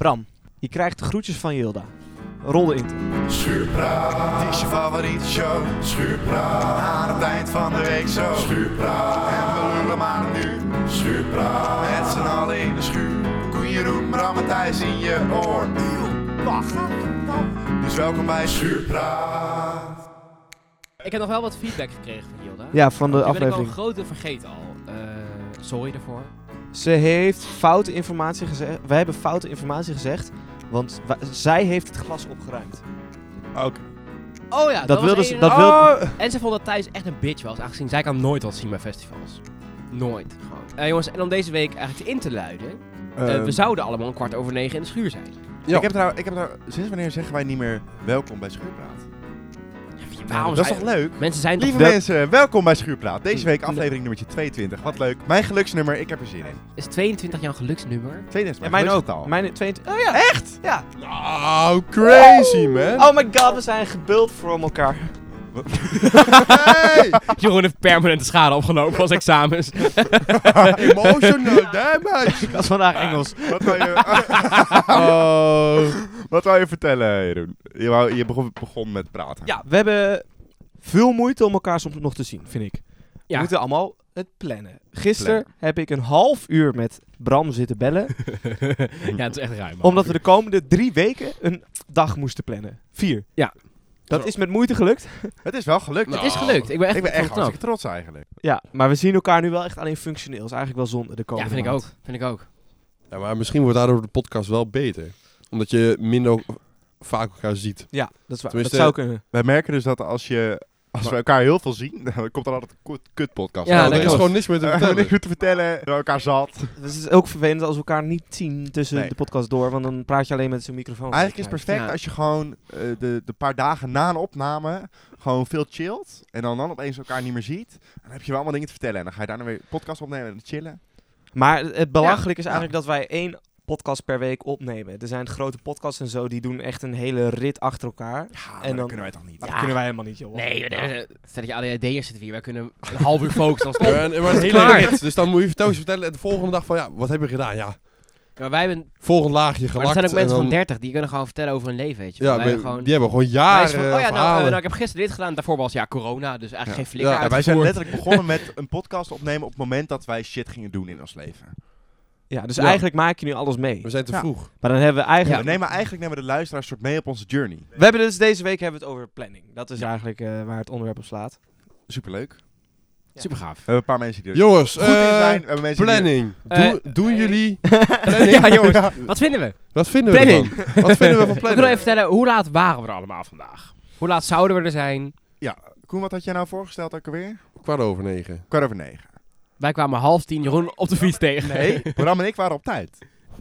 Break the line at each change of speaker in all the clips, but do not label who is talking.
Bram, je krijgt groetjes van Jilda. Rol de intro.
Schuurpraat, het is je favoriete show. Schuurpraat, aan het eind van de week zo. Schuurpraat, en we lullen maar een uur. Schuurpraat, met z'n allen in de schuur. Koen Jeroen, Bram en Thijs in je oor. Wacht. Dus welkom bij Schuurpraat.
Ik heb nog wel wat feedback gekregen van Hilda.
Ja, van de
Die ben ik al een
aflevering.
grote vergeten al. Eh, sorry daarvoor.
Ze heeft foute informatie gezegd. Wij hebben foute informatie gezegd. Want wa- zij heeft het glas opgeruimd.
Ook.
Oh ja, dat,
dat
was
wilde ze.
een-
Dat
Oh.
wil,
En ze vond dat Thijs echt een bitch was, aangezien zij kan nooit wat zien bij festivals. Nooit, gewoon. Eh, jongens, en om deze week eigenlijk in te luiden, eh,
Ehm.
we zouden allemaal om kwart over negen in de schuur zijn.
ik, heb nou, ik heb nou, sinds wanneer zeggen wij niet meer welkom bij
Nou,
Schuurpraat? Nou,
waarom
dat is
zou
toch
je-
leuk?
Mensen zijn toch...
Lieve
Wel-
mensen, welkom bij Schuurpraat. Deze week aflevering nummertje 22. Wat leuk. Mijn geluksnummer, ik heb er zin in.
Is 22 jouw geluksnummer?
22
en
is
mijn
geluksgetal.
ook. Mijn 22. Oh ja. Echt? Ja.
Nou, crazy man.
Oh my god, we zijn gebuld voor elkaar.
Hey,
Jeroen heeft permanente schade opgelopen als examens.
emotional damage.
Ik was vandaag Engels.
Wat wil je, Wat wou je vertellen, Jeroen? Je, wou- je begon, begon met praten.
Ja, we hebben veel moeite om elkaar soms nog te zien, vind ik. We
Ja.
moeten allemaal het plannen. Gisteren heb ik een half uur met Bram zitten bellen.
ja, het is echt ruim. man.
omdat we de komende drie weken een dag moesten plannen. Vier.
Ja.
Dat
Zo.
is met moeite gelukt.
Het is wel gelukt.
Het is gelukt. Ik ben echt,
ik ben echt
knap.
hartstikke trots eigenlijk.
Ja, maar we zien elkaar nu wel echt alleen functioneel. is eigenlijk wel zonde de
Ja,
komende
vind ik
maand.
ook. Vind ik ook.
Ja, maar misschien wordt daardoor de podcast wel beter. Omdat je minder o- vaak elkaar ziet.
Ja, dat is waar.
Tenminste,
dat zou kunnen.
Wij merken dus dat als, je, als we elkaar heel veel zien, dan komt er altijd een kut, kut podcast.
Ja,
Ja, er
dat
is
klopt.
gewoon niks meer te vertellen.
niks meer te vertellen. We hebben elkaar zat.
Dus het is ook vervelend als we elkaar niet zien tussen
Nee.
de podcast door. Want dan praat je alleen met zijn microfoon.
Eigenlijk is het perfect
Ja.
als je gewoon eh, de, de paar dagen na een opname gewoon veel chillt. En dan, dan opeens elkaar niet meer ziet. Dan heb je wel allemaal dingen te vertellen. En dan ga je daarna weer een podcast opnemen en chillen.
Maar het belachelijk is eigenlijk dat wij één podcast per week opnemen. Er zijn grote podcasts en zo, die doen echt een hele rit achter elkaar.
Ja,
En dan-
dat kunnen wij toch niet.
Maar dat kunnen wij helemaal niet, joh.
Nee, eh, stel dat je ADHD'ers zitten hier. Wij kunnen een half uur focussen. Dan
Ja, en- maar het is
Klaar.
klaar. Dus dan moet je telkens vertellen. En de volgende dag van ja, wat heb je gedaan? Ja,
Maar wij hebben,
volgend laagje gelakt.
maar er zijn ook
en
mensen
dan-
van 30 die kunnen gewoon vertellen over hun leven, weet je.
Ja,
wij
maar
gewoon,
die hebben gewoon
wij
jaren
is van, oh ja, nou, eh,
verhalen.
nou, ik heb gisteren dit gedaan. Daarvoor was ja corona, dus eigenlijk
Ja.
geen flikker
Ja,
Ja,
uit.
wij zijn
uitgevoerd.
letterlijk begonnen met een podcast opnemen op het moment dat wij shit gingen doen in ons leven.
Ja, dus
Ja.
eigenlijk maak je nu alles mee.
We zijn te
Ja.
vroeg.
Maar dan hebben we
We
eigenlijk...
nemen eigenlijk nemen we de luisteraars soort mee op onze journey.
We hebben dus deze week hebben we het over planning. Dat is eigenlijk eh, waar het onderwerp op slaat.
Superleuk. We
Super gaaf.
hebben een paar mensen die er
Dus Jongens,
goed in zijn.
eh,
We hebben mensen
planning.
Eh,
Doen- Doen
eh,
jullie...
ja, jongens. Wat vinden we?
Wat vinden we
Planning.
ervan? Wat vinden we van
Ik wil even
planning?
vertellen, hoe laat waren we er allemaal vandaag? Hoe laat zouden we er zijn?
Die er... Ja, Koen, wat had jij nou voorgesteld ook alweer?
Kwart over
Nou,
negen.
Kwart over negen.
Wij kwamen half tien Jeroen op de fiets tegen.
Nee, Bram en ik waren op tijd.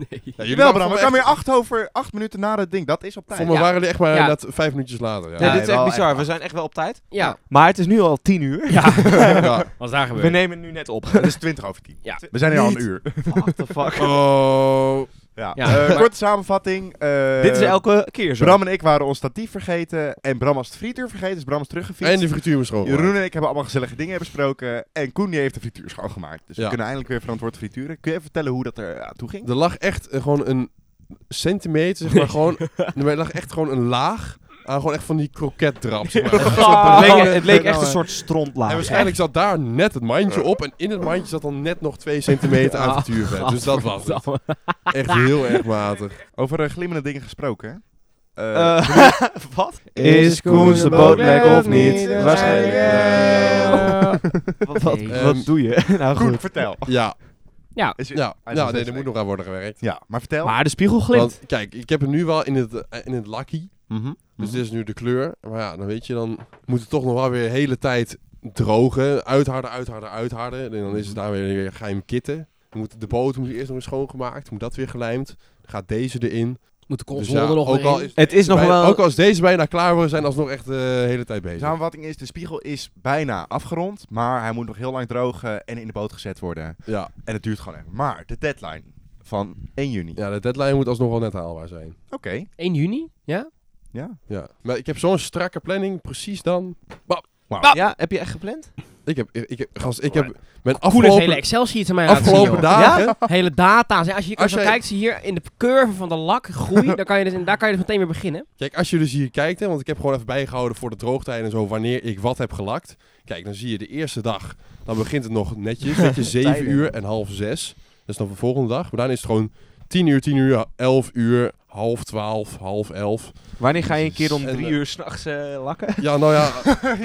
Nee.
Ja,
Jawel
waren
Bram, we
voor
kwamen
me
weer acht, over, acht minuten na dat ding. Dat is op
echt-
tijd.
Voor me
Ja.
waren jullie echt maar
Ja.
inderdaad vijf minuutjes later. Ja.
Nee, dit is
wel
echt
echt
bizar.
waar.
We zijn echt wel op tijd.
Ja.
Maar het is nu al tien uur.
Ja.
Ja.
Wat is daar
We
gebeurd?
nemen nu net op.
Het is twintig over tien.
Ja.
We zijn hier al
Niet.
een uur.
What the fuck?
Oh.
Ja.
Ja.
eh,
Maar-
korte samenvatting. eh,
Dit is elke keer zo.
Bram en ik waren ons statief vergeten. En Bram was de frituur vergeten, dus Bram is
En
teruggefietst.
de frituur was schoon.
Jeroen en ik hebben allemaal gezellige dingen besproken. En Koen die heeft de frituur schoongemaakt. Dus we
Ja.
kunnen eindelijk weer verantwoord frituren. Kun je even vertellen hoe dat er aan toe ging?
Er lag echt eh, gewoon een centimeter, zeg maar, gewoon... Er lag echt gewoon een laag aan gewoon echt van die kroketdrap, zeg maar. Echt zo'n
het, leek,
bruine-
Oh. het leek echt
bruine-
een soort strontlaag.
Ah. En waarschijnlijk zat daar net het mandje op en in het mandje zat dan net nog twee centimeter aan frituurvet. Dus dat was het. Echt heel erg matig.
Over eh, glimmende dingen gesproken. hè? Eh,
Eh, wat?
Is Koen zijn bootlek of niet?
Waarschijnlijk wel.
Wat, wat,
Nee.
wat
Ehm,
doe je? nou
Koen,
goed.
vertel.
Ja,
Is je-
ja.
Hij is
ja
nog
nee,
steeds
er moet
leeg.
nog aan worden gewerkt.
Ja, maar vertel.
Maar de spiegel glimt.
Want kijk, ik heb hem nu wel in het, eh, in het lakkie.
Mhm.
Dus dit is nu de kleur. Maar ja, dan weet je, dan moet het toch nog wel weer de hele tijd drogen. Uitharden, uitharden, uitharden. En dan is het
Mhm.
daar weer, weer geheim kitten. Dan moet de boot moet eerst nog weer schoongemaakt. Moet dat weer gelijmd. Dan gaat deze erin.
Moet de
Dus
console
ja,
er nog
ook,
weer
al
in?
is,
het is nog
bij-
wel...
ook als deze bijna klaar worden, zijn we alsnog echt eh, de hele tijd
De
Nou-
bezig.
samenvatting is, de spiegel is bijna afgerond. Maar hij moet nog heel lang drogen en in de boot gezet worden.
Ja.
En het duurt gewoon even. Maar de deadline van 1 juni.
ja, de deadline moet alsnog wel net haalbaar zijn.
Oké.
1 juni? Ja?
Ja.
Ja. Maar ik heb zo'n strakke planning. Precies dan. Bam,
Nou.
Ja, heb je echt gepland?
Ik heb, ik, ik heb, gast, ik heb mijn
Koen is hele
afgelopen,
Excel sheet aan mij aan het zien,
afgelopen
joh.
dagen...
Hele data's. hè. Als je, als
Als
je
jij-
kijkt, zie je hier in de curve van de lak groei. dan kan je dus, en daar kan je dus meteen weer beginnen.
Kijk, als je dus hier kijkt, hè, want ik heb gewoon even bijgehouden voor de droogtijden en zo, wanneer ik wat heb gelakt. Kijk, dan zie je de eerste dag, dan begint het nog netjes, weet je, 7
Tijden.
uur en half 6. Dat is dan de volgende dag. Maar dan is het gewoon 10 uur, 10 uur, 11 uur, half 12, half 11.
Wanneer ga je een keer om
En,
drie
eh,
uur s'nachts eh lakken?
Ja, nou ja,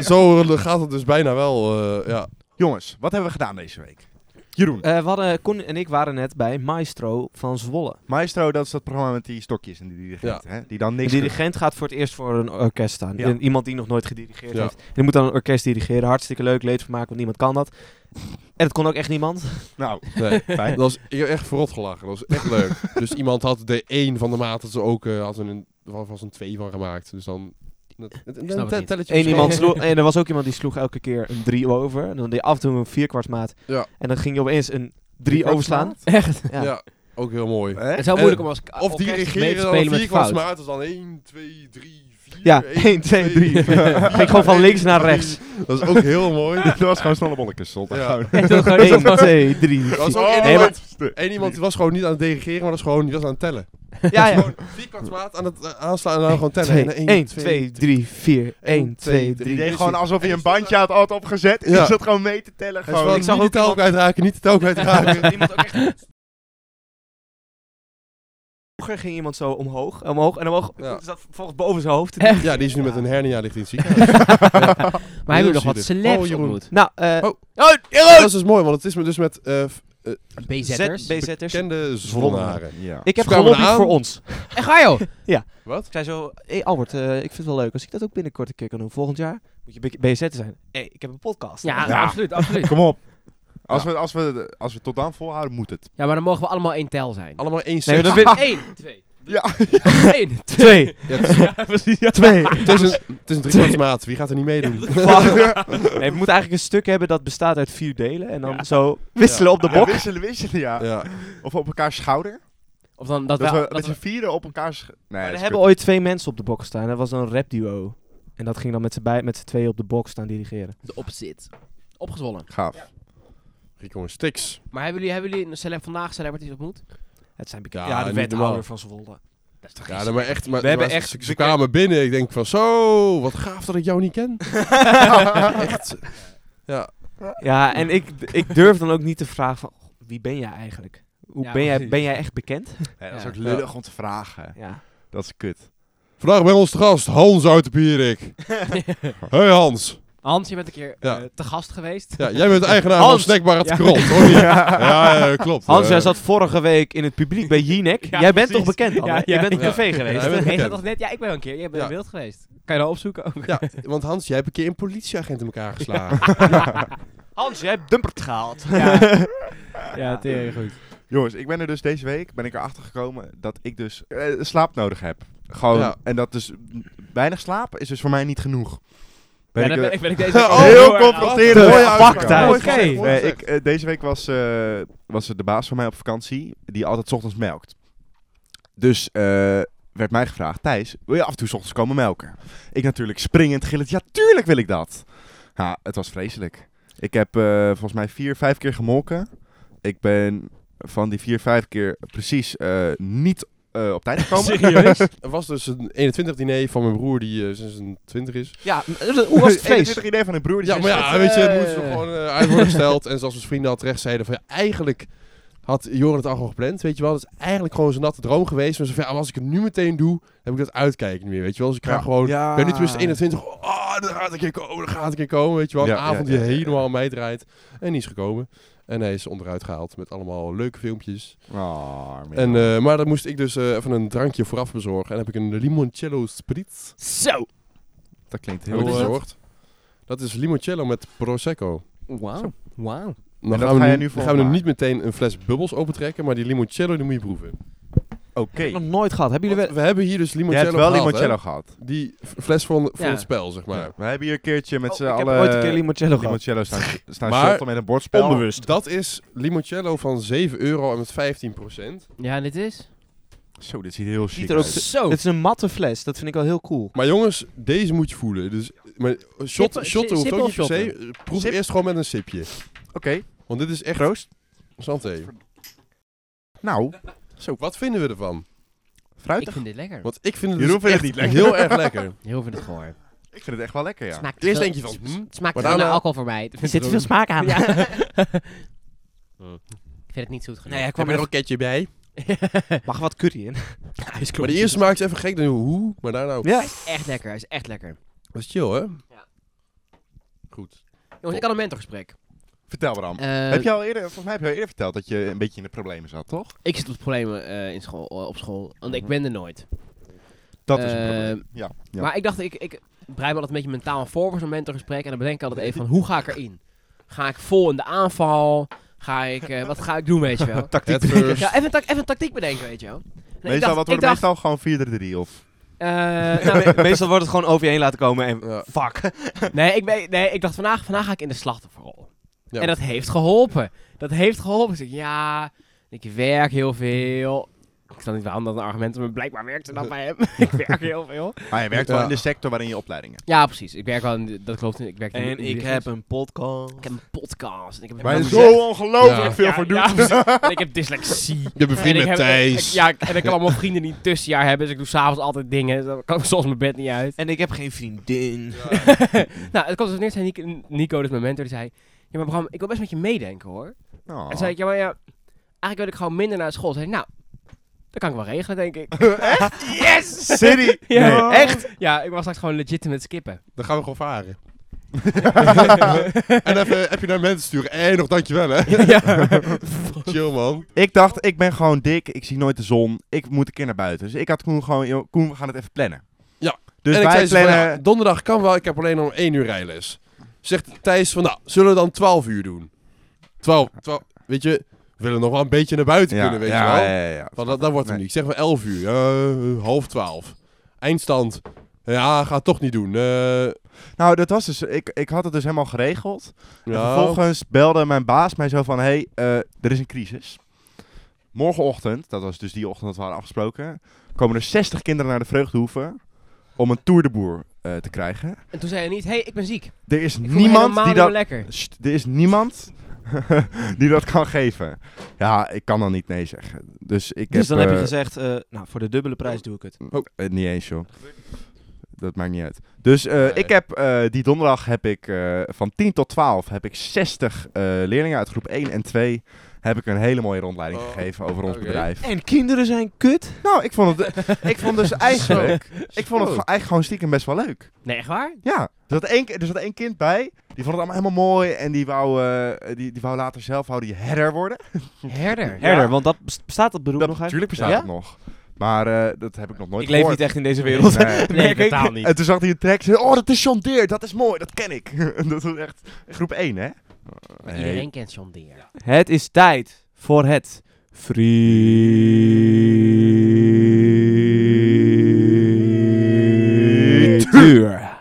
zo gaat het dus bijna wel. eh, ja.
Jongens, wat hebben we gedaan deze week? Jeroen.
Eh, we hadden, Con en ik waren net bij Maestro van Zwolle.
Maestro, dat is dat programma met die stokjes en die dirigent, hè? Die dan
De
niks...
dirigent gaat voor het eerst voor een orkest staan.
Ja.
En Iemand die nog nooit gedirigeerd
Ja.
heeft. En die moet dan een orkest dirigeren. Hartstikke leuk, leedvermaak, want niemand kan dat. En dat kon ook echt niemand.
doet. Nou,
Nee,
fijn.
dat was, ik heb echt verrot gelachen, dat was echt leuk. Dus iemand had de 1 van de maat, dat ze ook, eh, had een, was was een 2 van gemaakt. Dus dan... Het, het,
snap het niet.
telletje
Eén iemand
verschil.
sloeg, en er was ook iemand die sloeg elke keer een drie over. En dan deed af en toe een vierkwartsmaat.
Ja.
En dan ging je opeens een drie overslaan.
Echt.
Ja.
ja, ook heel mooi.
Hè?
Het is heel moeilijk om als
Eh, Ah, Of
orkest mee te
dirigeren
spelen
dan
met
vierkwarts
fout.
maat is dan 1, 2, 3, 4.
Ja, 1, 2, 3. Ging gewoon van links naar rechts.
Dat is ook heel mooi.
Dat was gewoon snelle bolletjes, stond er
Ja.
gewoon.
En toen gewoon
1,
iemand-
2, 3,
Er was ook één iemand, één iemand die was gewoon niet aan het dirigeren, maar dat was gewoon, die was aan het tellen.
Ja, ja.
Gewoon vierkwarts maat aan het eh, aanslaan en dan gewoon tellen. En
1, 2, 3, 4. 1, 2,
Die
3.
deed gewoon alsof hij een bandje had, had opgezet. En
Ja.
die zat gewoon mee te tellen.
Het is
Gewoon.
ik zag niet de tel kwijtraken, niet de tel kwijtraken.
Iemand ook echt... Vroeger ging iemand zo omhoog, omhoog en omhoog.
Ja.
Dus dat volgens boven zijn hoofd.
Echt?
Ja, die is nu met een hernia ligt in het ziekenhuis.
Maar hebben we nog
Heel
wat
zielig. Oh,
celebs
Jeroen.
ontmoet?
Nou, eh
Oh. Dat is dus mooi, want het is me dus met eh, f-
BZ'ers.
Z- BZ'ers.
bekende zonnaren.
Ja.
Ik heb
Ze kwamen
gelobby
eraan.
voor ons.
Echt waar joh?
Wat?
Ik zei zo, hey Albert, eh, ik vind het wel leuk. Als ik dat ook binnenkort een keer kan doen, volgend jaar moet je BZ zijn. hey, ik heb een podcast.
Ja,
Ja.
absoluut, absoluut.
Kom op. Als,
Ja.
we, als, we, als we tot dan volhouden, moet het.
Ja, maar dan mogen we allemaal één tel zijn.
Allemaal één
Nee,
set.
dat vind
1, 2,
Ja.
1, 2.
Twee.
Ja, het is-
Twee.
het is een- het is een driekwarts maat, wie gaat er niet meedoen?
Nee, we moeten eigenlijk een stuk hebben dat bestaat uit vier delen. En dan zo wisselen op de
Ja,
bok.
wisselen, wisselen, ja.
Ja.
Of op elkaar schouder.
Of dan dat,
Dat
we...
we
dat
met z'n
we-
vieren op elkaar... sch- Nee,
Maar
dat
er
is
hebben ooit twee mensen op de bok gestaan. Dat was een rapduo. En dat ging dan met z'n bij- met z'n tweeën op de bok staan dirigeren.
de opzit. Opgezwollen.
kut. gaaf.
Rico en Stix.
Maar hebben jullie, hebben jullie een celeb vandaag celebrities ontmoet?
Het zijn
bekend- Ja, niet normaal.
van Zwolle.
Dat is toch
Ja, nee, maar echt, maar,
We hebben
maar
echt
ze, ze
beke-
kwamen binnen. Ik denk van zo, wat gaaf dat ik jou niet ken. echt. Ja,
Ja, en ik, ik durf dan ook niet te vragen van, "Goh, wie ben jij eigenlijk? Hoe
Ja,
ben, jij,
precies.
ben jij echt bekend?
Nee, dat is
Ja.
ook lullig om te vragen.
Ja.
Dat is kut.
vandaag bij ons te gast Hans uit de Pierik. Hey Hans.
Hans, je bent een keer
Ja.
eh, te gast geweest.
Ja, jij bent de eigenaar van
Hans.
Snackbar het Krot, hoor. Ja, ja, ja, klopt.
Hans,
Eh,
jij zat vorige week in het publiek bij Jinek.
Ja,
jij bent
precies.
toch bekend dan?
Ja,
hè?
ja.
Je bent op
Ja.
café
Ja,
geweest.
jij bent
Hey, dat
bekend.
was net, ja, ik ben wel een keer. Jij bent
Ja.
in beeld geweest. Kan je dat opzoeken ook?
Ja, want Hans, jij hebt een keer een politieagent in elkaar geslagen.
Hans, jij hebt dumpert gehaald.
Ja, ja tering goed.
Jongens, ik ben er dus deze week, ben ik erachter gekomen dat ik dus eh, slaap nodig heb. Gewoon,
Ja.
en dat dus m, weinig slaap is dus voor mij niet genoeg.
Ben
Ben
ja,
ik,
ik,
eh,
ben, ik ben ik deze
Oh,
ook
heel
heel erg aan.
confronterend.
What the
Mooie
fuck,
uitgang.
Thijs?
Mooi
Oké.
gezegd, mooi
Nee,
gezegd. ik, eh, deze week was, eh, was de baas van mij op vakantie, die altijd 's ochtends melkt. Dus eh, werd mij gevraagd, Thijs, wil je af en toe 's ochtends komen melken? Ik natuurlijk springend gillend, ja tuurlijk wil ik dat. Ja, het was vreselijk. Ik heb eh, volgens mij vier, vijf keer gemolken. Ik ben van die vier, vijf keer precies eh, niet eh, op tijd gekomen.
Serieus?
Er was dus een 21 diner van mijn broer die eh, 26 is.
Ja, m- hoe was het feest?
21 idee van een broer. Die
Ja, maar
zei,
ja, weet je, het moest
eh.
er gewoon eh, uit worden gesteld. En zoals onze vrienden al terecht zeiden, van, ja, eigenlijk had Joren het al gewoon gepland, weet je wel. Dat is eigenlijk gewoon zijn natte droom geweest. Maar zo van, ja, maar als ik het nu meteen doe, heb ik dat uitkijken niet meer, weet je wel. Dus ik ga
Ja.
gewoon,
Ja.
ik ben nu tenminste 21, oh, daar gaat een keer komen, daar gaat een keer komen, weet je wel.
Ja,
een
ja,
avond
ja,
die
ja, ja.
helemaal aan mij draait. En die is gekomen. En hij is onderuit gehaald met allemaal leuke filmpjes.
"Ah, arme
En,
jongen."
eh, maar dan moest ik dus eh, even een drankje vooraf bezorgen. En dan heb ik een limoncello spritz
Zo!
dat klinkt
heb ik
heel... eh,
bezorgd. Dat is limoncello met prosecco.
Wauw. Wauw.
Dan
dat
gaan we,
ga je
nu,
nu
dan
voor
gaan we nu
maken.
niet meteen een fles bubbels opentrekken, maar die limoncello die moet je proeven.
Oké.
Ik heb nog nooit gehad. Hebben jullie
Want
wel...
we hebben hier dus
Je
limoncello
hebt wel
gehaald,
limoncello
hè?
gehad.
Die f- fles van, van
Ja.
het spel, zeg maar.
We hebben hier een keertje met
Oh,
z'n
ik heb
allen
ooit een keer limoncello gehad.
limoncello staan, staan
Maar-
shotten met een bordspel.
Dat is limoncello van 7 euro en met 15 procent.
Ja, en dit is?
Zo, dit ziet er heel chic
er ook
uit.
zo-
Zo.
Het is een matte fles. Dat vind ik wel heel cool.
Maar jongens, deze moet je voelen. Dus maar shot,
Sippen-
shotten
si-
hoeft ook niet per
sippen of
se. Eh, Proef
Sip?
eerst gewoon met een sipje.
Oké,
Want dit is echt...
proost.
Santé.
Nou,
Wat vinden we ervan?
Ik
fruitig.
vind dit lekker.
Want ik vind
Jeroen
het dus
vindt het
echt
niet lekker.
heel erg lekker.
Heel vind het goor.
Ik vind het echt wel lekker, ja.
Het smaakt te
Eerst
veel-
denk je van... hm,
Het smaakt
Maar
te veel naar
daarna-
alcohol voor mij.
Er zit veel smaak aan.
Ja. Ik vind het niet zoet genoeg.
Nee, hij kwam
Heb je
er
een ketje bij?
Mag er wat curry in?
Maar de eerste smaakt even gek. Dan denk je, hoe? Maar daarna... ook.
Ja.
Echt lekker, hij is echt lekker.
Dat is chill, hè?
Ja.
Goed.
Jongens, ik had een mentorgesprek.
Vertel Bram.
Eh,
heb je al eerder, volgens mij heb je al eerder verteld dat je een beetje in de problemen zat, toch?
Ik zit op problemen eh, in school, op school, want
Mhm.
ik ben er nooit.
Dat is een
Eh,
probleem. Ja, ja.
Maar ik dacht, ik, ik bereid me altijd een beetje mentaal voor voor zo'n mentorgesprek. En dan bedenk ik altijd even van, hoe ga ik erin? Ga ik vol in de aanval? Ga ik, eh, wat ga ik doen, weet je wel?
Tactiek first.
Ja, even, een tac- even een tactiek bedenken, weet je wel. Nee, ik
eh, meestal,
dacht-
wat
ik
wordt
dacht,
meestal gewoon 4-3 of...
eh, nou,
Me- Meestal wordt het gewoon over je heen laten komen en
Ja.
fuck.
nee, ik ben, nee, ik dacht vandaag, vandaag ga ik in de slachtofferrol.
Ja.
En dat heeft geholpen. Dat heeft geholpen. Dus Ik zeg, ja, ik werk heel veel. Ik snap niet waarom dat een argument is, maar blijkbaar werkt het dan bij hem. ik werk heel veel.
Maar je werkt wel
Ja.
in de sector waarin je opleidingen.
Ja, precies. Ik werk wel, in de- dat klopt. Ik werk in de-
En
in de
ik
business.
heb een podcast.
Ik heb een podcast. En ik heb
Waar je
een
zo ongelooflijk
Ja.
veel
Ja,
voor doet.
ja, precies. En ik heb dyslexie.
Je bent
En
vriend
ik
met
heb-
Thijs.
ik- ja, ik- en ik kan allemaal vrienden die een tussenjaar hebben. Dus ik doe s'avonds altijd dingen. Dus Dan kan ik soms mijn bed niet uit.
En ik heb geen vriendin.
Nou, het kwam dus neer. zei Nico- Nico, dus mijn mentor, die zei... Ja, maar Bram, ik wil best met je meedenken, hoor.
Oh.
En zei ik, ja, maar ja... Eigenlijk wil ik gewoon minder naar school. Zei hij, nou... Dat kan ik wel regelen, denk ik. Yes!
City!
Ja,
Nee.
echt? Ja, ik was straks gewoon legitimate skippen.
Dan gaan we gewoon varen. en even heb je naar mensen sturen. Hé, nog dankjewel hè. Chill man.
Ik dacht, ik ben gewoon dik, ik zie nooit de zon, ik moet een keer naar buiten. Dus ik had Koen gewoon, joh, Koen, we gaan het even plannen.
Ja.
Dus
en ik
wij
zei ze van,
plannen...
ja, donderdag kan wel, ik heb alleen om 1 uur rijles. Zegt Thijs van, nou, zullen we dan 12 uur doen? 12, 12 weet je, we willen nog wel een beetje naar buiten kunnen, weet je wel.
Ja, ja, ja.
Want dat, dat wordt hem
Nee.
niet. Ik zeg maar 11 uur, eh, half 12. Eindstand. Ja, gaat toch niet doen. Eh,
Nou, dat was dus, ik, ik had het dus helemaal geregeld. En
ja.
vervolgens belde mijn baas mij zo van, hé, hey, eh, er is een crisis. Morgenochtend, dat was dus die ochtend dat we hadden afgesproken, komen er 60 kinderen naar de vreugdehoeve om een Tour de Boer eh, te krijgen.
En toen zei hij niet, hé, hey, ik ben ziek. Ik voel
Er is
me
niemand
helemaal
die
niet
dat...
meer lekker.
Sst, er is niemand die dat kan geven. Ja, ik kan dan niet nee zeggen. Dus ik
Dus dan
heb...
heb je Oh.
eh,
gezegd, eh, nou, voor de dubbele prijs doe ik het.
Eh, niet eens, joh. Dat maakt niet uit. Dus eh,
Nee.
ik heb eh, die donderdag heb ik eh, van 10 tot 12 heb ik 60 eh, leerlingen uit groep 1 en 2 heb ik een hele mooie rondleiding
Oh,
gegeven over ons
oké.
bedrijf.
En kinderen zijn kut.
Nou, ik vond het, ik vond dus eigenlijk, ik vond het gewoon- eigenlijk gewoon stiekem best wel leuk.
Nee, echt waar?
Ja, er zat één, ki- er zat één kind bij, die vond het allemaal helemaal mooi en die wou, eh, die, die wou later zelf wou die herder worden.
Herder.
Herder, want dat best- bestaat dat beroep
Dat,
nog
natuurlijk bestaat
Ja?
het nog. Maar eh, dat heb ik nog nooit
Ik leef
gehoord.
niet echt in deze wereld.
Nee.
Nee,
Merk ik.
totaal niet.
En toen zag hij een track zei, oh, dat is John Deere, dat is mooi, dat ken ik. En dat was echt groep 1, hè?
Maar Iedereen kent John Deere.
Het is tijd voor het frituur.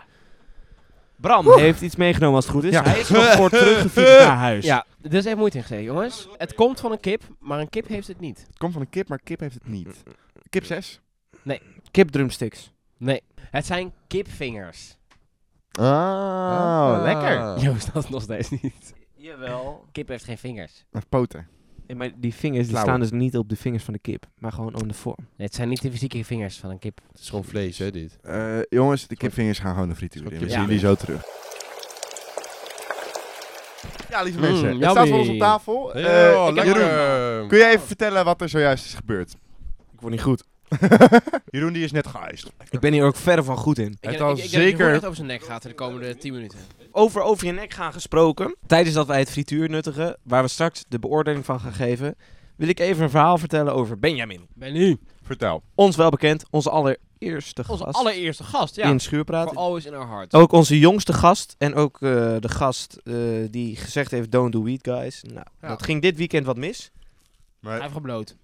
Bram heeft iets meegenomen als het goed is.
Ja.
Hij is nog voor teruggefietst naar huis.
Ja, er is even moeite in gezeten, jongens. Het komt van een kip, maar een kip heeft het niet.
Het komt van een kip, maar kip heeft het niet. Kip 6?
Kip drumsticks.
Nee. Het zijn kipvingers.
Oh, lekker.
Ah.
Joost, dat is nog steeds niet.
Jawel.
Kip heeft geen vingers.
Met poten.
maar die vingers die
Klauwen.
staan dus niet op de vingers van de kip, maar gewoon aan de vorm.
Nee, het zijn niet de fysieke vingers van een kip.
Het is gewoon vlees hè, dit.
Eh, jongens, de kipvingers gaan gewoon de frituur in. We
Ja.
zien jullie zo terug. Ja, lieve
Mm,
mensen, het
yummy.
staat voor ons op tafel. Eh,
Ja,
ik heb-
lekker.
Jeroen, kun jij even vertellen wat er zojuist is gebeurd?
Ik word niet goed.
Jeroen, die is net geëist.
Ik ben hier ook verre van goed in.
Het
denk-
was
denk dat Jeroen
zeker-
echt over zijn nek gaat in de komende 10 minuten.
Over, over je nek gaan gesproken. Tijdens dat wij het frituur nuttigen, waar we straks de beoordeling van gaan geven, wil ik even een verhaal vertellen over Benjamin.
Ben nu.
Vertel.
Ons wel bekend, onze allereerste
Onze
gast
allereerste gast, ja.
in Oh.
For
Schuurpraat.
always in our hearts.
Ook onze jongste gast en ook eh, de gast eh, die gezegd heeft don't do weed guys. Nou,
Ja.
dat ging dit weekend wat mis.
Hij
Maar,
heeft gebloot.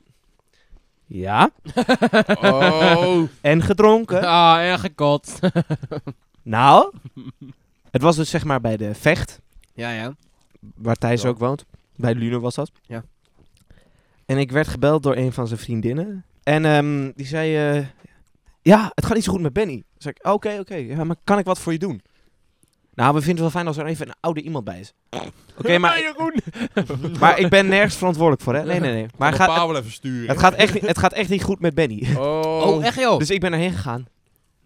Ja.
Oh.
En gedronken.
Ah, en gekot.
Nou, het was dus zeg maar bij de vecht,
ja, ja.
waar Thijs
Ja.
ook woont. Bij Luno was dat.
Ja.
En ik werd gebeld door een van zijn vriendinnen. En ehm, die zei, eh, ja, het gaat niet zo goed met Benny. Toen zei ik, oké, oké, ja, maar kan ik wat voor je doen? Nou, we vinden het wel fijn als er even een oude iemand bij is. Oké, maar, maar ik ben nergens verantwoordelijk voor, hè? Nee, nee, nee. Maar
Maar
het
ga
gaat,
Pavel even sturen.
het, gaat echt, niet- het gaat echt niet goed met Benny.
Oh,
Oh, echt joh.
Dus ik ben erheen gegaan.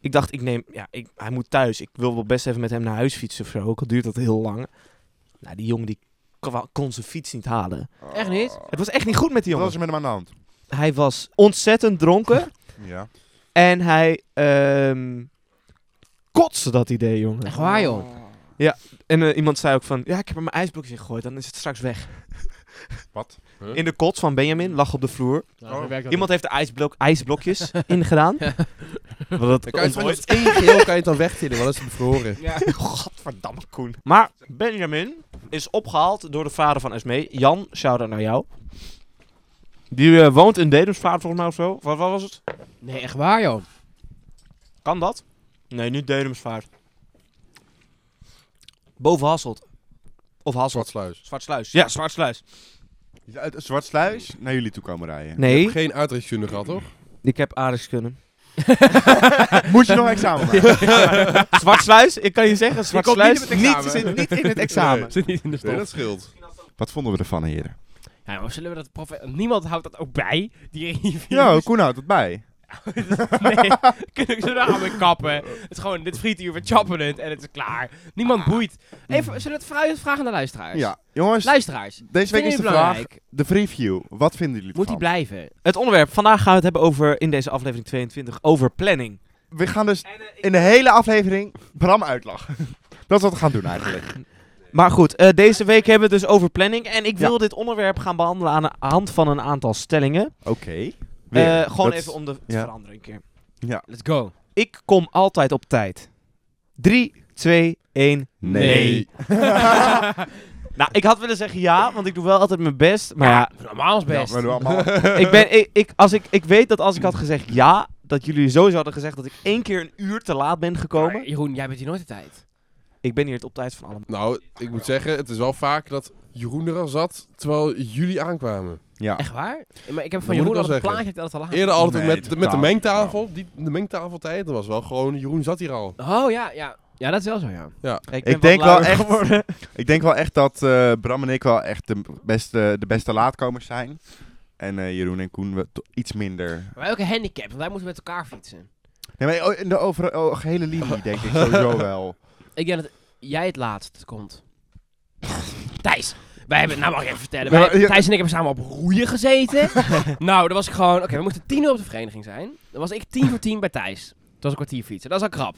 Ik dacht, ik neem, ja, ik, hij moet thuis. Ik wil wel best even met hem naar huis fietsen of zo. Ook al duurt dat heel lang. Nou, die jongen die kwa- kon zijn fiets niet halen.
Echt niet?
Het was echt niet goed met die
Oh. Wat
jongen.
was er met hem aan de hand?
Hij was ontzettend dronken.
Ja.
en hij ehm kotste dat idee, jongen.
Echt waar joh.
Oh.
En eh, iemand zei ook van, ja, ik heb er mijn ijsblokjes in gegooid. Dan is het straks weg.
Wat?
In de kot van Benjamin, lag op de vloer.
Oh. zo werkt
Iemand heeft de ijsblok, ijsblokjes ingedaan. Want dat
Dan kan je het gewoon
ontdooit-
als één geheel kan je het dan wegtillen, want dat is het bevroren.
Godverdamme, Koen. Maar Benjamin is opgehaald door de vader van Esmee. Jan, shout-out naar jou. Die eh, woont in Dedemsvaart volgens mij of zo. Wat, wat was het?
Nee, echt waar joh.
Kan dat? Nee, niet Dedemsvaart. Boven Hasselt. Of Hasselt.
Zwartsluis.
Zwartsluis. Ja, Zwartsluis.
Uit Zwartsluis naar jullie toe komen rijden.
Je
Nee,
hebt geen uitrechtskunde gehad, toch?
ik heb aardigs kunnen.
Moet je nog een examen maken?
Zwartsluis, ik kan je zeggen,
komt niet
Zwartsluis
in het examen.
niet- zit niet in het examen.
Zit niet in de stof.
Nee, dat scheelt.
Wat vonden we ervan, heren?
Ja, maar zullen we dat profe- Niemand houdt dat ook bij, die reviews.
Ja, Koen houdt het bij.
nee, kunnen ze daar gaan mee kappen. Het is gewoon, dit frietuur, we chappen het en het is klaar. Niemand boeit. Even, zullen we het vooruit vragen naar luisteraars?
Ah. Ja, jongens.
Luisteraars,
Deze week
vinden
is de
jullie
vraag,
belangrijk?
de preview. Wat vinden jullie
Moet die
ervan?
blijven?
Het onderwerp, vandaag gaan we het hebben over, in deze aflevering 22, over planning.
We gaan dus in de hele aflevering Bram uitlachen. Dat is wat we gaan doen eigenlijk.
Maar goed, eh, deze week hebben we het dus over planning. En ik wil dit onderwerp gaan behandelen aan de hand van een aantal stellingen.
Oké.
Eh,
Weer.
gewoon
Dat is-
even om de te
ja.
veranderen een keer.
Let's go.
Ik kom altijd op tijd. 3, 2, 1.
Nee.
Nou, ik had willen zeggen ja, want ik doe wel altijd mijn best. Maar ja,
Normaal is
Ja,
best.
we doen allemaal...
ik, ben, ik, ik, als ik, ik weet dat als ik had gezegd ja, dat jullie sowieso hadden gezegd dat ik één keer een uur te laat ben
Maar
gekomen.
Jeroen, jij bent hier nooit de tijd.
Ik ben hier het op tijd van allemaal.
Nou, ik moet zeggen, het is wel vaak dat Jeroen er al zat, terwijl jullie aankwamen.
ja.
Echt waar? Maar ik heb
moet
van
ik
Jeroen
wel
al een
zeggen.
plaatje dat het al aan.
Eerder altijd
Nee,
met,
totaal.
met de mengtafel, die, de mengtafeltijd, dat was wel gewoon, Jeroen zat hier al.
Oh ja, ja. Ja, dat is wel zo, ja.
Ik,
Ik
ben wat
denk wel
luier
echt-
geworden.
Ik denk wel echt dat eh, Bram en ik wel echt de beste, de beste laatkomers zijn. En eh, Jeroen en Koen we to- iets minder.
Maar ook een handicap, want wij moeten met elkaar fietsen.
Nee, maar o- in de over, o- gehele linie denk ik sowieso wel.
Ik denk dat jij het laatst komt. Thijs, wij hebben, nou mag ik even vertellen.
Ja,
Wij,
maar je-
Thijs en ik hebben samen op roeien gezeten. nou, dan was ik gewoon, oké, we moesten tien uur op de vereniging zijn. Dan was ik tien voor tien bij Thijs. Dat was een kwartier fietsen, dat is al krap.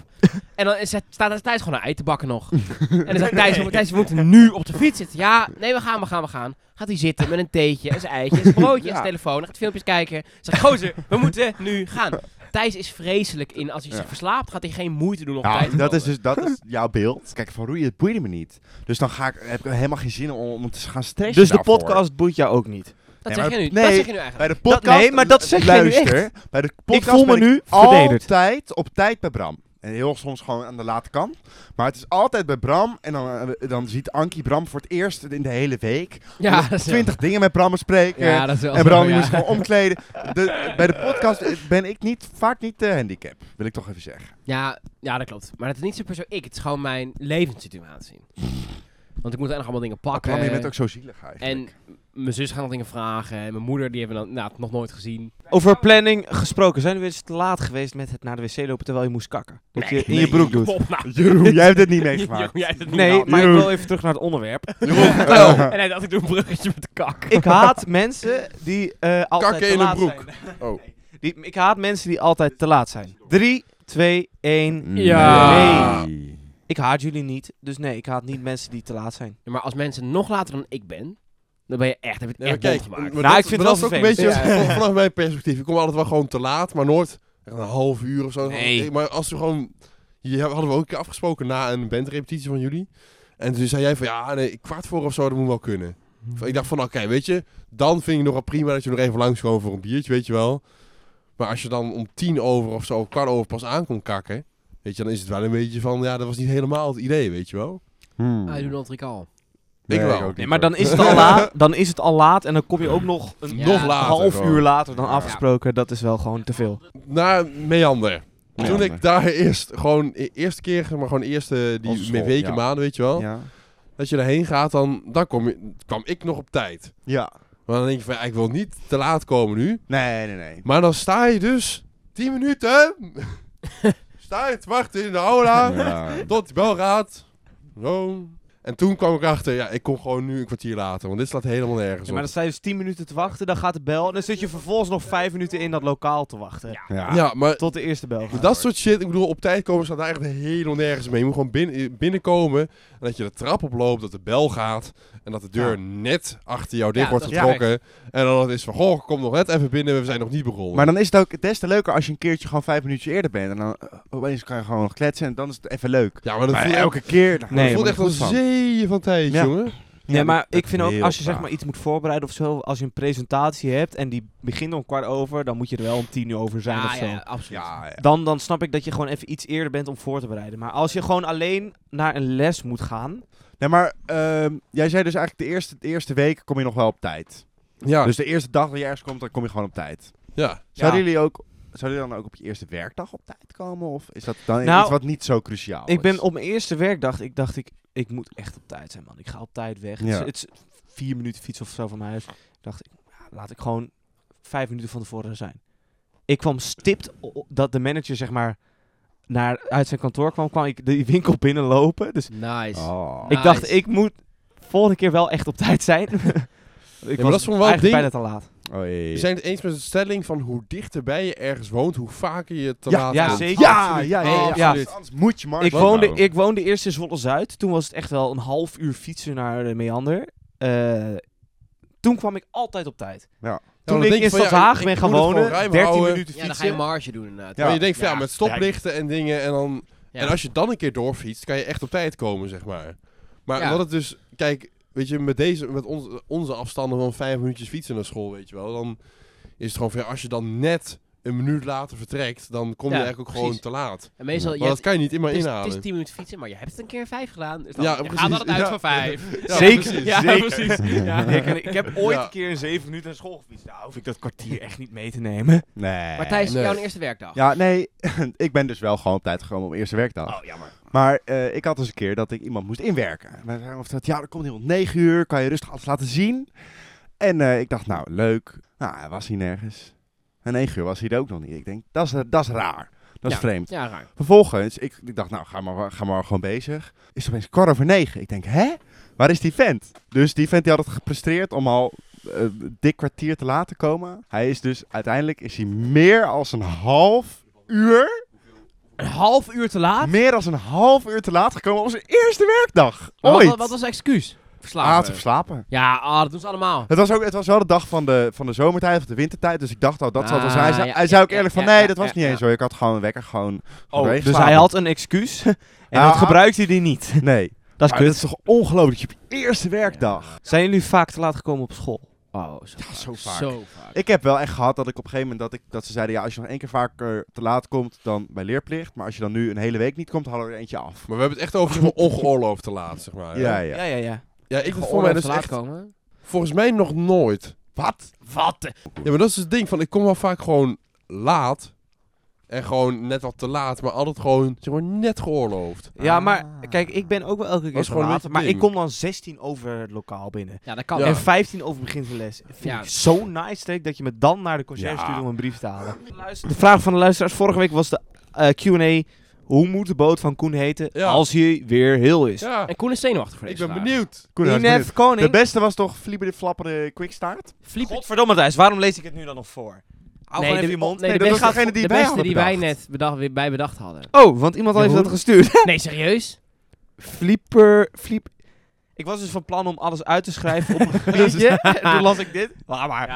En dan is het, staat staat Thijs gewoon een ei te bakken nog. en dan zegt Thijs, Thijs, we moeten nu op de fiets zitten. Ja, nee, we gaan, we gaan, we gaan. Gaat hij zitten met een theetje, en zijn eitje, en zijn broodje, en
Ja.
zijn telefoon. en gaat filmpjes kijken. Zegt, gozer, we moeten nu gaan. Thijs is vreselijk in, als hij zich
Ja.
verslaapt, gaat hij geen moeite doen om op
Ja,
tijd te
dat is
komen.
dus dat is jouw beeld. Kijk, van roeien, het boeide me niet. Dus dan ga ik, heb ik helemaal geen zin om, om te gaan stressen
Dus de
daarvoor.
podcast boeit jou ook niet.
Dat,
Nee,
zeg
maar-
je nu,
nee,
dat zeg je nu eigenlijk.
Bij de podcast,
nee, maar dat zeg jij nu
luister, Bij de podcast
voel me
ben
nu verdedigd.
altijd op tijd bij Bram. En heel soms gewoon aan de late kant. Maar het is altijd bij Bram. En dan, eh, dan ziet Ankie Bram voor het eerst in de hele week.
Ja, dat is wel-
20 dingen met Bram bespreken.
Ja, dat is wel
en Bram
zo,
die
ja.
moest gewoon omkleden. De, bij de podcast eh, ben ik niet, vaak niet de handicap, wil ik toch even zeggen.
Ja, ja, dat klopt. Maar dat is niet zo persoon ik. Het is gewoon mijn levenssituatie. Want ik moet eigenlijk allemaal dingen pakken.
eh,
Bram, je bent ook zo zielig eigenlijk.
en mijn zus gaat nog dingen vragen. En mijn moeder, die hebben we dan, nou, nog nooit gezien.
Over planning gesproken. Zijn we weer eens te laat geweest met het naar de wc lopen terwijl je moest kakken? Dat je in je broek doet.
Kom op, nou.
Jeroen, jij hebt dit niet
Jeroen,
meegemaakt.
jij hebt het niet
Nee,
gehad.
maar ik wil even terug naar het onderwerp.
Oh, en hij dacht, ik doe een bruggetje met de kak.
Ik haat mensen die eh, altijd
Kakken
te
in een
laat
broek.
zijn.
Oh.
Die, ik haat mensen die altijd te laat zijn. 3, 2, 1.
Ja.
Nee.
Ik haat jullie niet. Dus nee, ik haat niet mensen die te laat zijn.
Ja, maar als mensen nog later dan ik ben, dan ben je echt, heb je het
Nee, maar
echt
kijk,
bond gemaakt.
Nou, ik
dat-
vind
maar
het
dat is
wel
ook een beetje
vervelend.
van- vanaf mijn perspectief. Ik kom altijd wel gewoon te laat, maar nooit echt een half uur of zo.
Nee.
Ik- Maar als we gewoon... Hier hadden we ook een keer afgesproken na een bandrepetitie van jullie. En toen zei jij van, ja, nee, kwart voor of zo, dat moet wel kunnen. Ik dacht van, oké, weet je, dan vind ik nog wel prima dat je nog even langs gewoon voor een biertje, weet je wel. Maar als je dan om tien over of zo, kwart over pas aankomt kakken, weet je, dan is het wel een beetje van, ja, dat was niet helemaal het idee, weet je wel.
Hmm.
Ah, je doet een al.
Nee,
ik
ik
wel.
ook niet,
Nee, maar
hoor.
dan is het al laat. Dan is het al laat en dan kom je ook nog een
Ja.
Nog later.
half
gewoon.
uur later dan
Ja.
afgesproken. Dat is wel gewoon te veel.
Naar meander.
Ja,
toen
maar-
ik daar eerst gewoon, e- eerste keer, maar gewoon eerste die
Op school,
weken,
ja.
maanden, weet je wel.
Ja.
Dat je daarheen gaat, dan, dan kom je, kwam ik nog op tijd.
ja.
Maar dan denk je van, ja, ik wil niet te laat komen nu.
Nee, nee, nee.
Maar dan sta je dus 10 minuten. sta je te wachten in de aula.
Ja.
Tot die bel gaat. Zo. En toen kwam ik achter, ja, ik kom gewoon nu een kwartier later. Want dit slaat helemaal nergens
Ja,
op.
maar dan sta je dus 10 minuten te wachten, dan gaat de bel. En dan zit je vervolgens nog 5 minuten in dat lokaal te wachten.
Ja.
Ja, maar
Tot de eerste bel. gaat.
dat soort shit, ik bedoel, op tijd komen staat eigenlijk helemaal nergens mee. Je moet gewoon binnen, binnenkomen. En dat je de trap oploopt, dat de bel gaat. En dat de deur net achter jou dicht
Ja,
wordt
dat is
getrokken. En dan is van, goh, kom nog net even binnen, we zijn nog niet begonnen.
Maar dan is het ook des te leuker als je een keertje gewoon vijf minuutjes eerder bent. En dan eh, opeens kan je gewoon nog kletsen en dan is het even leuk.
ja, maar dat
Maar
voelt, elke,
elke keer... daar
Nee,
word
voelt
ik
echt een
goed van.
zee van tijd,
Ja.
jongen.
Nee, maar
dat
ik vind ook
heel
als je zeg
vaak.
maar iets moet voorbereiden of zo, als je een presentatie hebt en die begint om kwart over, dan moet je er wel om tien uur over zijn of
Ah, Ja,
zo.
ja, absoluut.
Ja, ja.
Dan, dan snap ik dat je gewoon even iets eerder bent om voor te bereiden. Maar als je gewoon alleen naar een les moet gaan,
Nee, maar ehm, jij zei dus eigenlijk de eerste, de eerste week kom je nog wel op tijd.
Ja,
Dus de eerste dag dat je ergens komt, dan kom je gewoon op tijd.
ja.
Zouden jullie ook... Zouden jullie dan ook op je eerste werkdag op tijd komen? Of is dat dan
Nou,
iets wat niet zo cruciaal
ik
is?
ben op mijn eerste werkdag, ik dacht ik, ik moet echt op tijd zijn man. Ik ga op tijd weg. Het, is,
Ja.
het is vier minuten fiets of zo van mijn huis. Ik dacht, ik, ja, laat ik gewoon vijf minuten van tevoren er zijn. Ik kwam stipt o- o- dat de manager zeg maar naar, uit zijn kantoor kwam, kwam ik die winkel binnenlopen. Dus
Nice.
Oh.
Ik dacht, ik moet volgende keer wel echt op tijd zijn. ik
dat is voor wel
eigenlijk
ding-
bijna te laat.
Oh, jee.
We zijn het eens met de stelling van hoe dichterbij je ergens woont, hoe vaker je te
Ja,
laat
ja,
komt.
zeker.
Ja, ja, ja.
Nee,
ja,
ja.
Absoluut. Anders moet je Mark
Ik
Lotto
woonde,
houden.
ik woonde eerst in Zwolle-Zuid. Toen was het echt wel een half uur fietsen naar de Meander. Eh, toen kwam ik altijd op tijd.
Ja.
dan
Toen
denk
ik
je
in
van, ja,
Stadhaag
ik
ben gaan
moet het gewoon
wonen,
ruim
13
houden.
minuten
Ja, dan ga je
fietsen.
marge doen inderdaad.
Ja.
Maar je denkt van ja,
Ja.
met stoplichten en dingen en dan...
Ja.
En als je dan een keer doorfietst, kan je echt op tijd komen, zeg maar. Maar
Ja.
omdat het dus... Kijk, weet je, met, deze, met onze, onze afstanden van vijf minuutjes fietsen naar school, weet je wel. Dan is het gewoon van, ja, als je dan net een minuut later vertrekt, dan kom je
Ja,
eigenlijk ook
precies.
gewoon te laat.
En meestal,
Maar
je
dat
hebt-
kan je niet
het
immer
is, het is
inhalen.
10 minuten fietsen, maar je hebt het een keer 5 gedaan. Dus dan
Ja,
ja,
precies.
gaat altijd uit
Ja.
van 5.
Ja, precies.
Ja,
Zeker.
precies. Ja.
Ja, ik, ik heb ooit
Ja.
een keer in 7 minuten naar school gefietst. Nou, hoef ik dat kwartier echt niet mee te
Oh,
nemen.
Nee.
Maar Thijs,
Nee.
jouw eerste werkdag.
Ja, nee, ik ben dus wel gewoon op tijd gekomen op eerste werkdag.
Oh, jammer.
Maar eh, ik had eens een keer dat ik iemand moest inwerken. En wij zeiden of dat, ja, er komt iemand om negen uur, kan je rustig alles laten zien. En eh, ik dacht, nou, leuk. Nou, hij was hier nergens. En negen uur was hij er ook nog niet. Ik denk, dat is, eh, dat is raar. Dat is
Ja.
vreemd.
Ja, raar.
Vervolgens, ik, ik dacht, nou, ga maar, ga maar gewoon bezig. Is opeens kwart over negen. Ik denk, hè? Waar is die vent? Dus die vent die had het gepresteerd om al eh, dik kwartier te laten komen. Hij is dus, uiteindelijk is hij meer als een half uur,
Een half uur te laat?
meer dan een half uur te laat gekomen op zijn eerste werkdag.
Maar
Ooit.
Wat, wat was het excuus?
Hij had
Verslaafd.
verslapen.
ja, ah, dat doen ze allemaal.
Het was, ook, het was wel de dag van de, van de zomertijd of de wintertijd, dus ik dacht al, dat zal het wel zijn. Hij,
Ah,
zei-
ja,
hij zei ook
ja,
eerlijk
ja,
van,
ja,
nee,
ja,
dat was
ja,
niet
ja.
eens zo. Ik had gewoon een wekker gewoon
Oh, dus
geslapen.
hij had een excuus. En
Ja.
dat gebruikte hij niet.
Nee.
Dat is
Maar dat
kut.
is toch ongelooflijk, dat je op je eerste werkdag...
Zijn jullie vaak te laat gekomen op school?
Oh, zo,
zo vaak.
Zo vaak.
Ik heb wel echt gehad dat ik op een gegeven moment dat, ik, dat ze zeiden: ja, als je nog één keer vaker te laat komt dan bij leerplicht. Maar als je dan nu een hele week niet komt, halen we er eentje af.
Maar we hebben het echt over zeg maar, ongeoorloofd te laat, zeg maar.
Oh, Ja,
Ja,
ja.
Ja, ja, ja.
ik
Gewoon
vond mij
even
dus
te laat
echt...
komen.
Volgens mij nog nooit.
Wat?
Wat?
Ja, maar dat is het ding van ik kom wel vaak gewoon laat. En gewoon net wat te laat, maar altijd gewoon zeg maar, net geoorloofd.
Ja,
Ah.
maar kijk, ik ben ook wel elke keer
is
te
gewoon een
laat,
beetje
maar
ding.
ik kom dan 16 over het lokaal binnen.
Ja, dat kan.
Ja.
En 15 over begin van les. Vind
Ja.
ik dus- zo nice Freek, dat je me dan naar de conciërge
Ja.
stuurt om een brief te halen. De vraag van de luisteraars vorige week was de eh, Q&A. Hoe moet de boot van Koen heten
Ja.
als hij weer heel is?
Ja,
En Koen is zenuwachtig voor
ik
deze
ben
vraag.
benieuwd.
Koen, hij is benieuwd.
Inef
De
Koning.
beste was toch Flieber de Flapperde Quickstart?
Fliep- Oh,
Godverdomme Thijs, waarom lees ik het nu dan nog voor? Hou
Nee,
gewoon
de-
even je mond.
Nee,
Nee,
de
dat was
beste,
degene die
de
wij
beste
hadden
die wij
bedacht.
net bedacht, weer bij bedacht hadden.
Oh, want iemand heeft
Jeroen?
dat gestuurd.
Nee, serieus?
Flieper, fliep... Ik was dus van plan om alles uit te schrijven op een papiertje. En Toen las ik dit. Laat maar.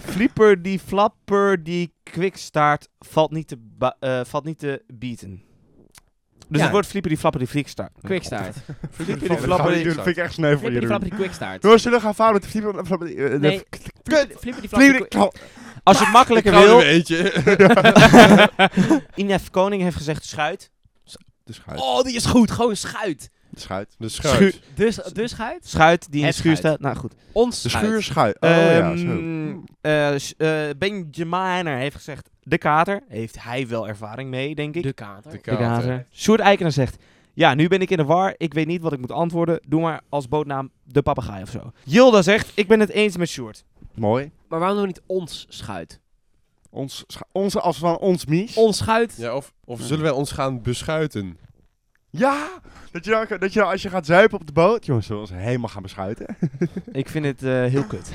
Flieper die flapper die kwikstaart valt niet te, ba- eh, valt niet te beaten. Dus
Ja.
het wordt flieper die flapper die flikstaart.
Quickstart.
Flieper die
Dat gaan we
flapper
niet
die...
doen, dat vind ik echt sneu voor
Flipper die
jullie.
flapper die quickstart.
Jongens, zullen we gaan varen met de Flieber de Flapper die, eh, de
Nee,
Flieber
Flipper Flipper
de
die flapper die
Klap-
Als je het makkelijker
Gaan we
wil...
er weer eentje.
Inef Koning heeft gezegd schuit.
De schuit.
Oh, die is goed. Gewoon schuit.
De schuit.
De schuit.
Schu-
Dus, dus schuit?
Schuit die in de
Het
schuur
schuit. Oh,
staat. Nou goed.
Ons
De
schuit.
schuurschuit. Oh ja,
Ehm,
zo.
eh, s- eh, Benjaminer heeft gezegd de kater, heeft hij wel ervaring mee, denk ik.
De kater.
De
De
kater.
kater. Sjoerd Eikenaar zegt... Ja, nu ben ik in de war. Ik weet niet wat ik moet antwoorden. Doe maar als bootnaam de papegaai of zo. Jilda zegt, ik ben het eens met Sjoerd.
Mooi.
Maar waarom doen we niet ons schuit?
Ons, scha- onze als van ons mies.
Ons schuit.
Ja, of, of zullen wij ons gaan beschuiten?
Ja! Dat je, dan, dat je dan als je gaat zuipen op de boot, jongens, zullen we ons helemaal gaan beschuiten.
Ik vind het eh, heel kut.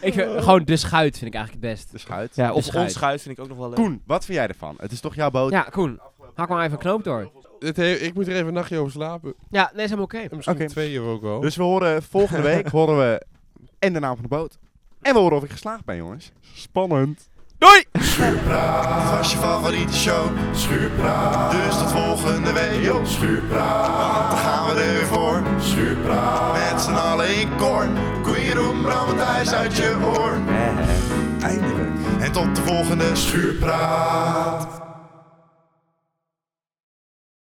Ik vind- gewoon de schuit vind ik eigenlijk het best.
De schuit.
Ja, of
schuit.
ons schuit vind ik ook nog wel leuk.
Koen, wat vind jij ervan? Het is toch jouw boot?
Ja, Koen. Hak maar even een knoop door.
Dit he- ik moet er even een nachtje over slapen.
Ja, nee, is helemaal oké.
En misschien
Oké.
twee uur ook wel.
Dus we horen volgende week horen we en de naam van de boot. En we horen of ik geslaagd ben, jongens. Spannend.
Doei!
Schuurpraat was je favoriete show. Schuurpraat. Dus tot volgende week. Yo, schuurpraat. Want dan gaan we er weer voor. Schuurpraat. Met z'n allen in koor. Koeieroem, thuis uit je oor.
Eh, Eindelijk.
En tot de volgende Schuurpraat.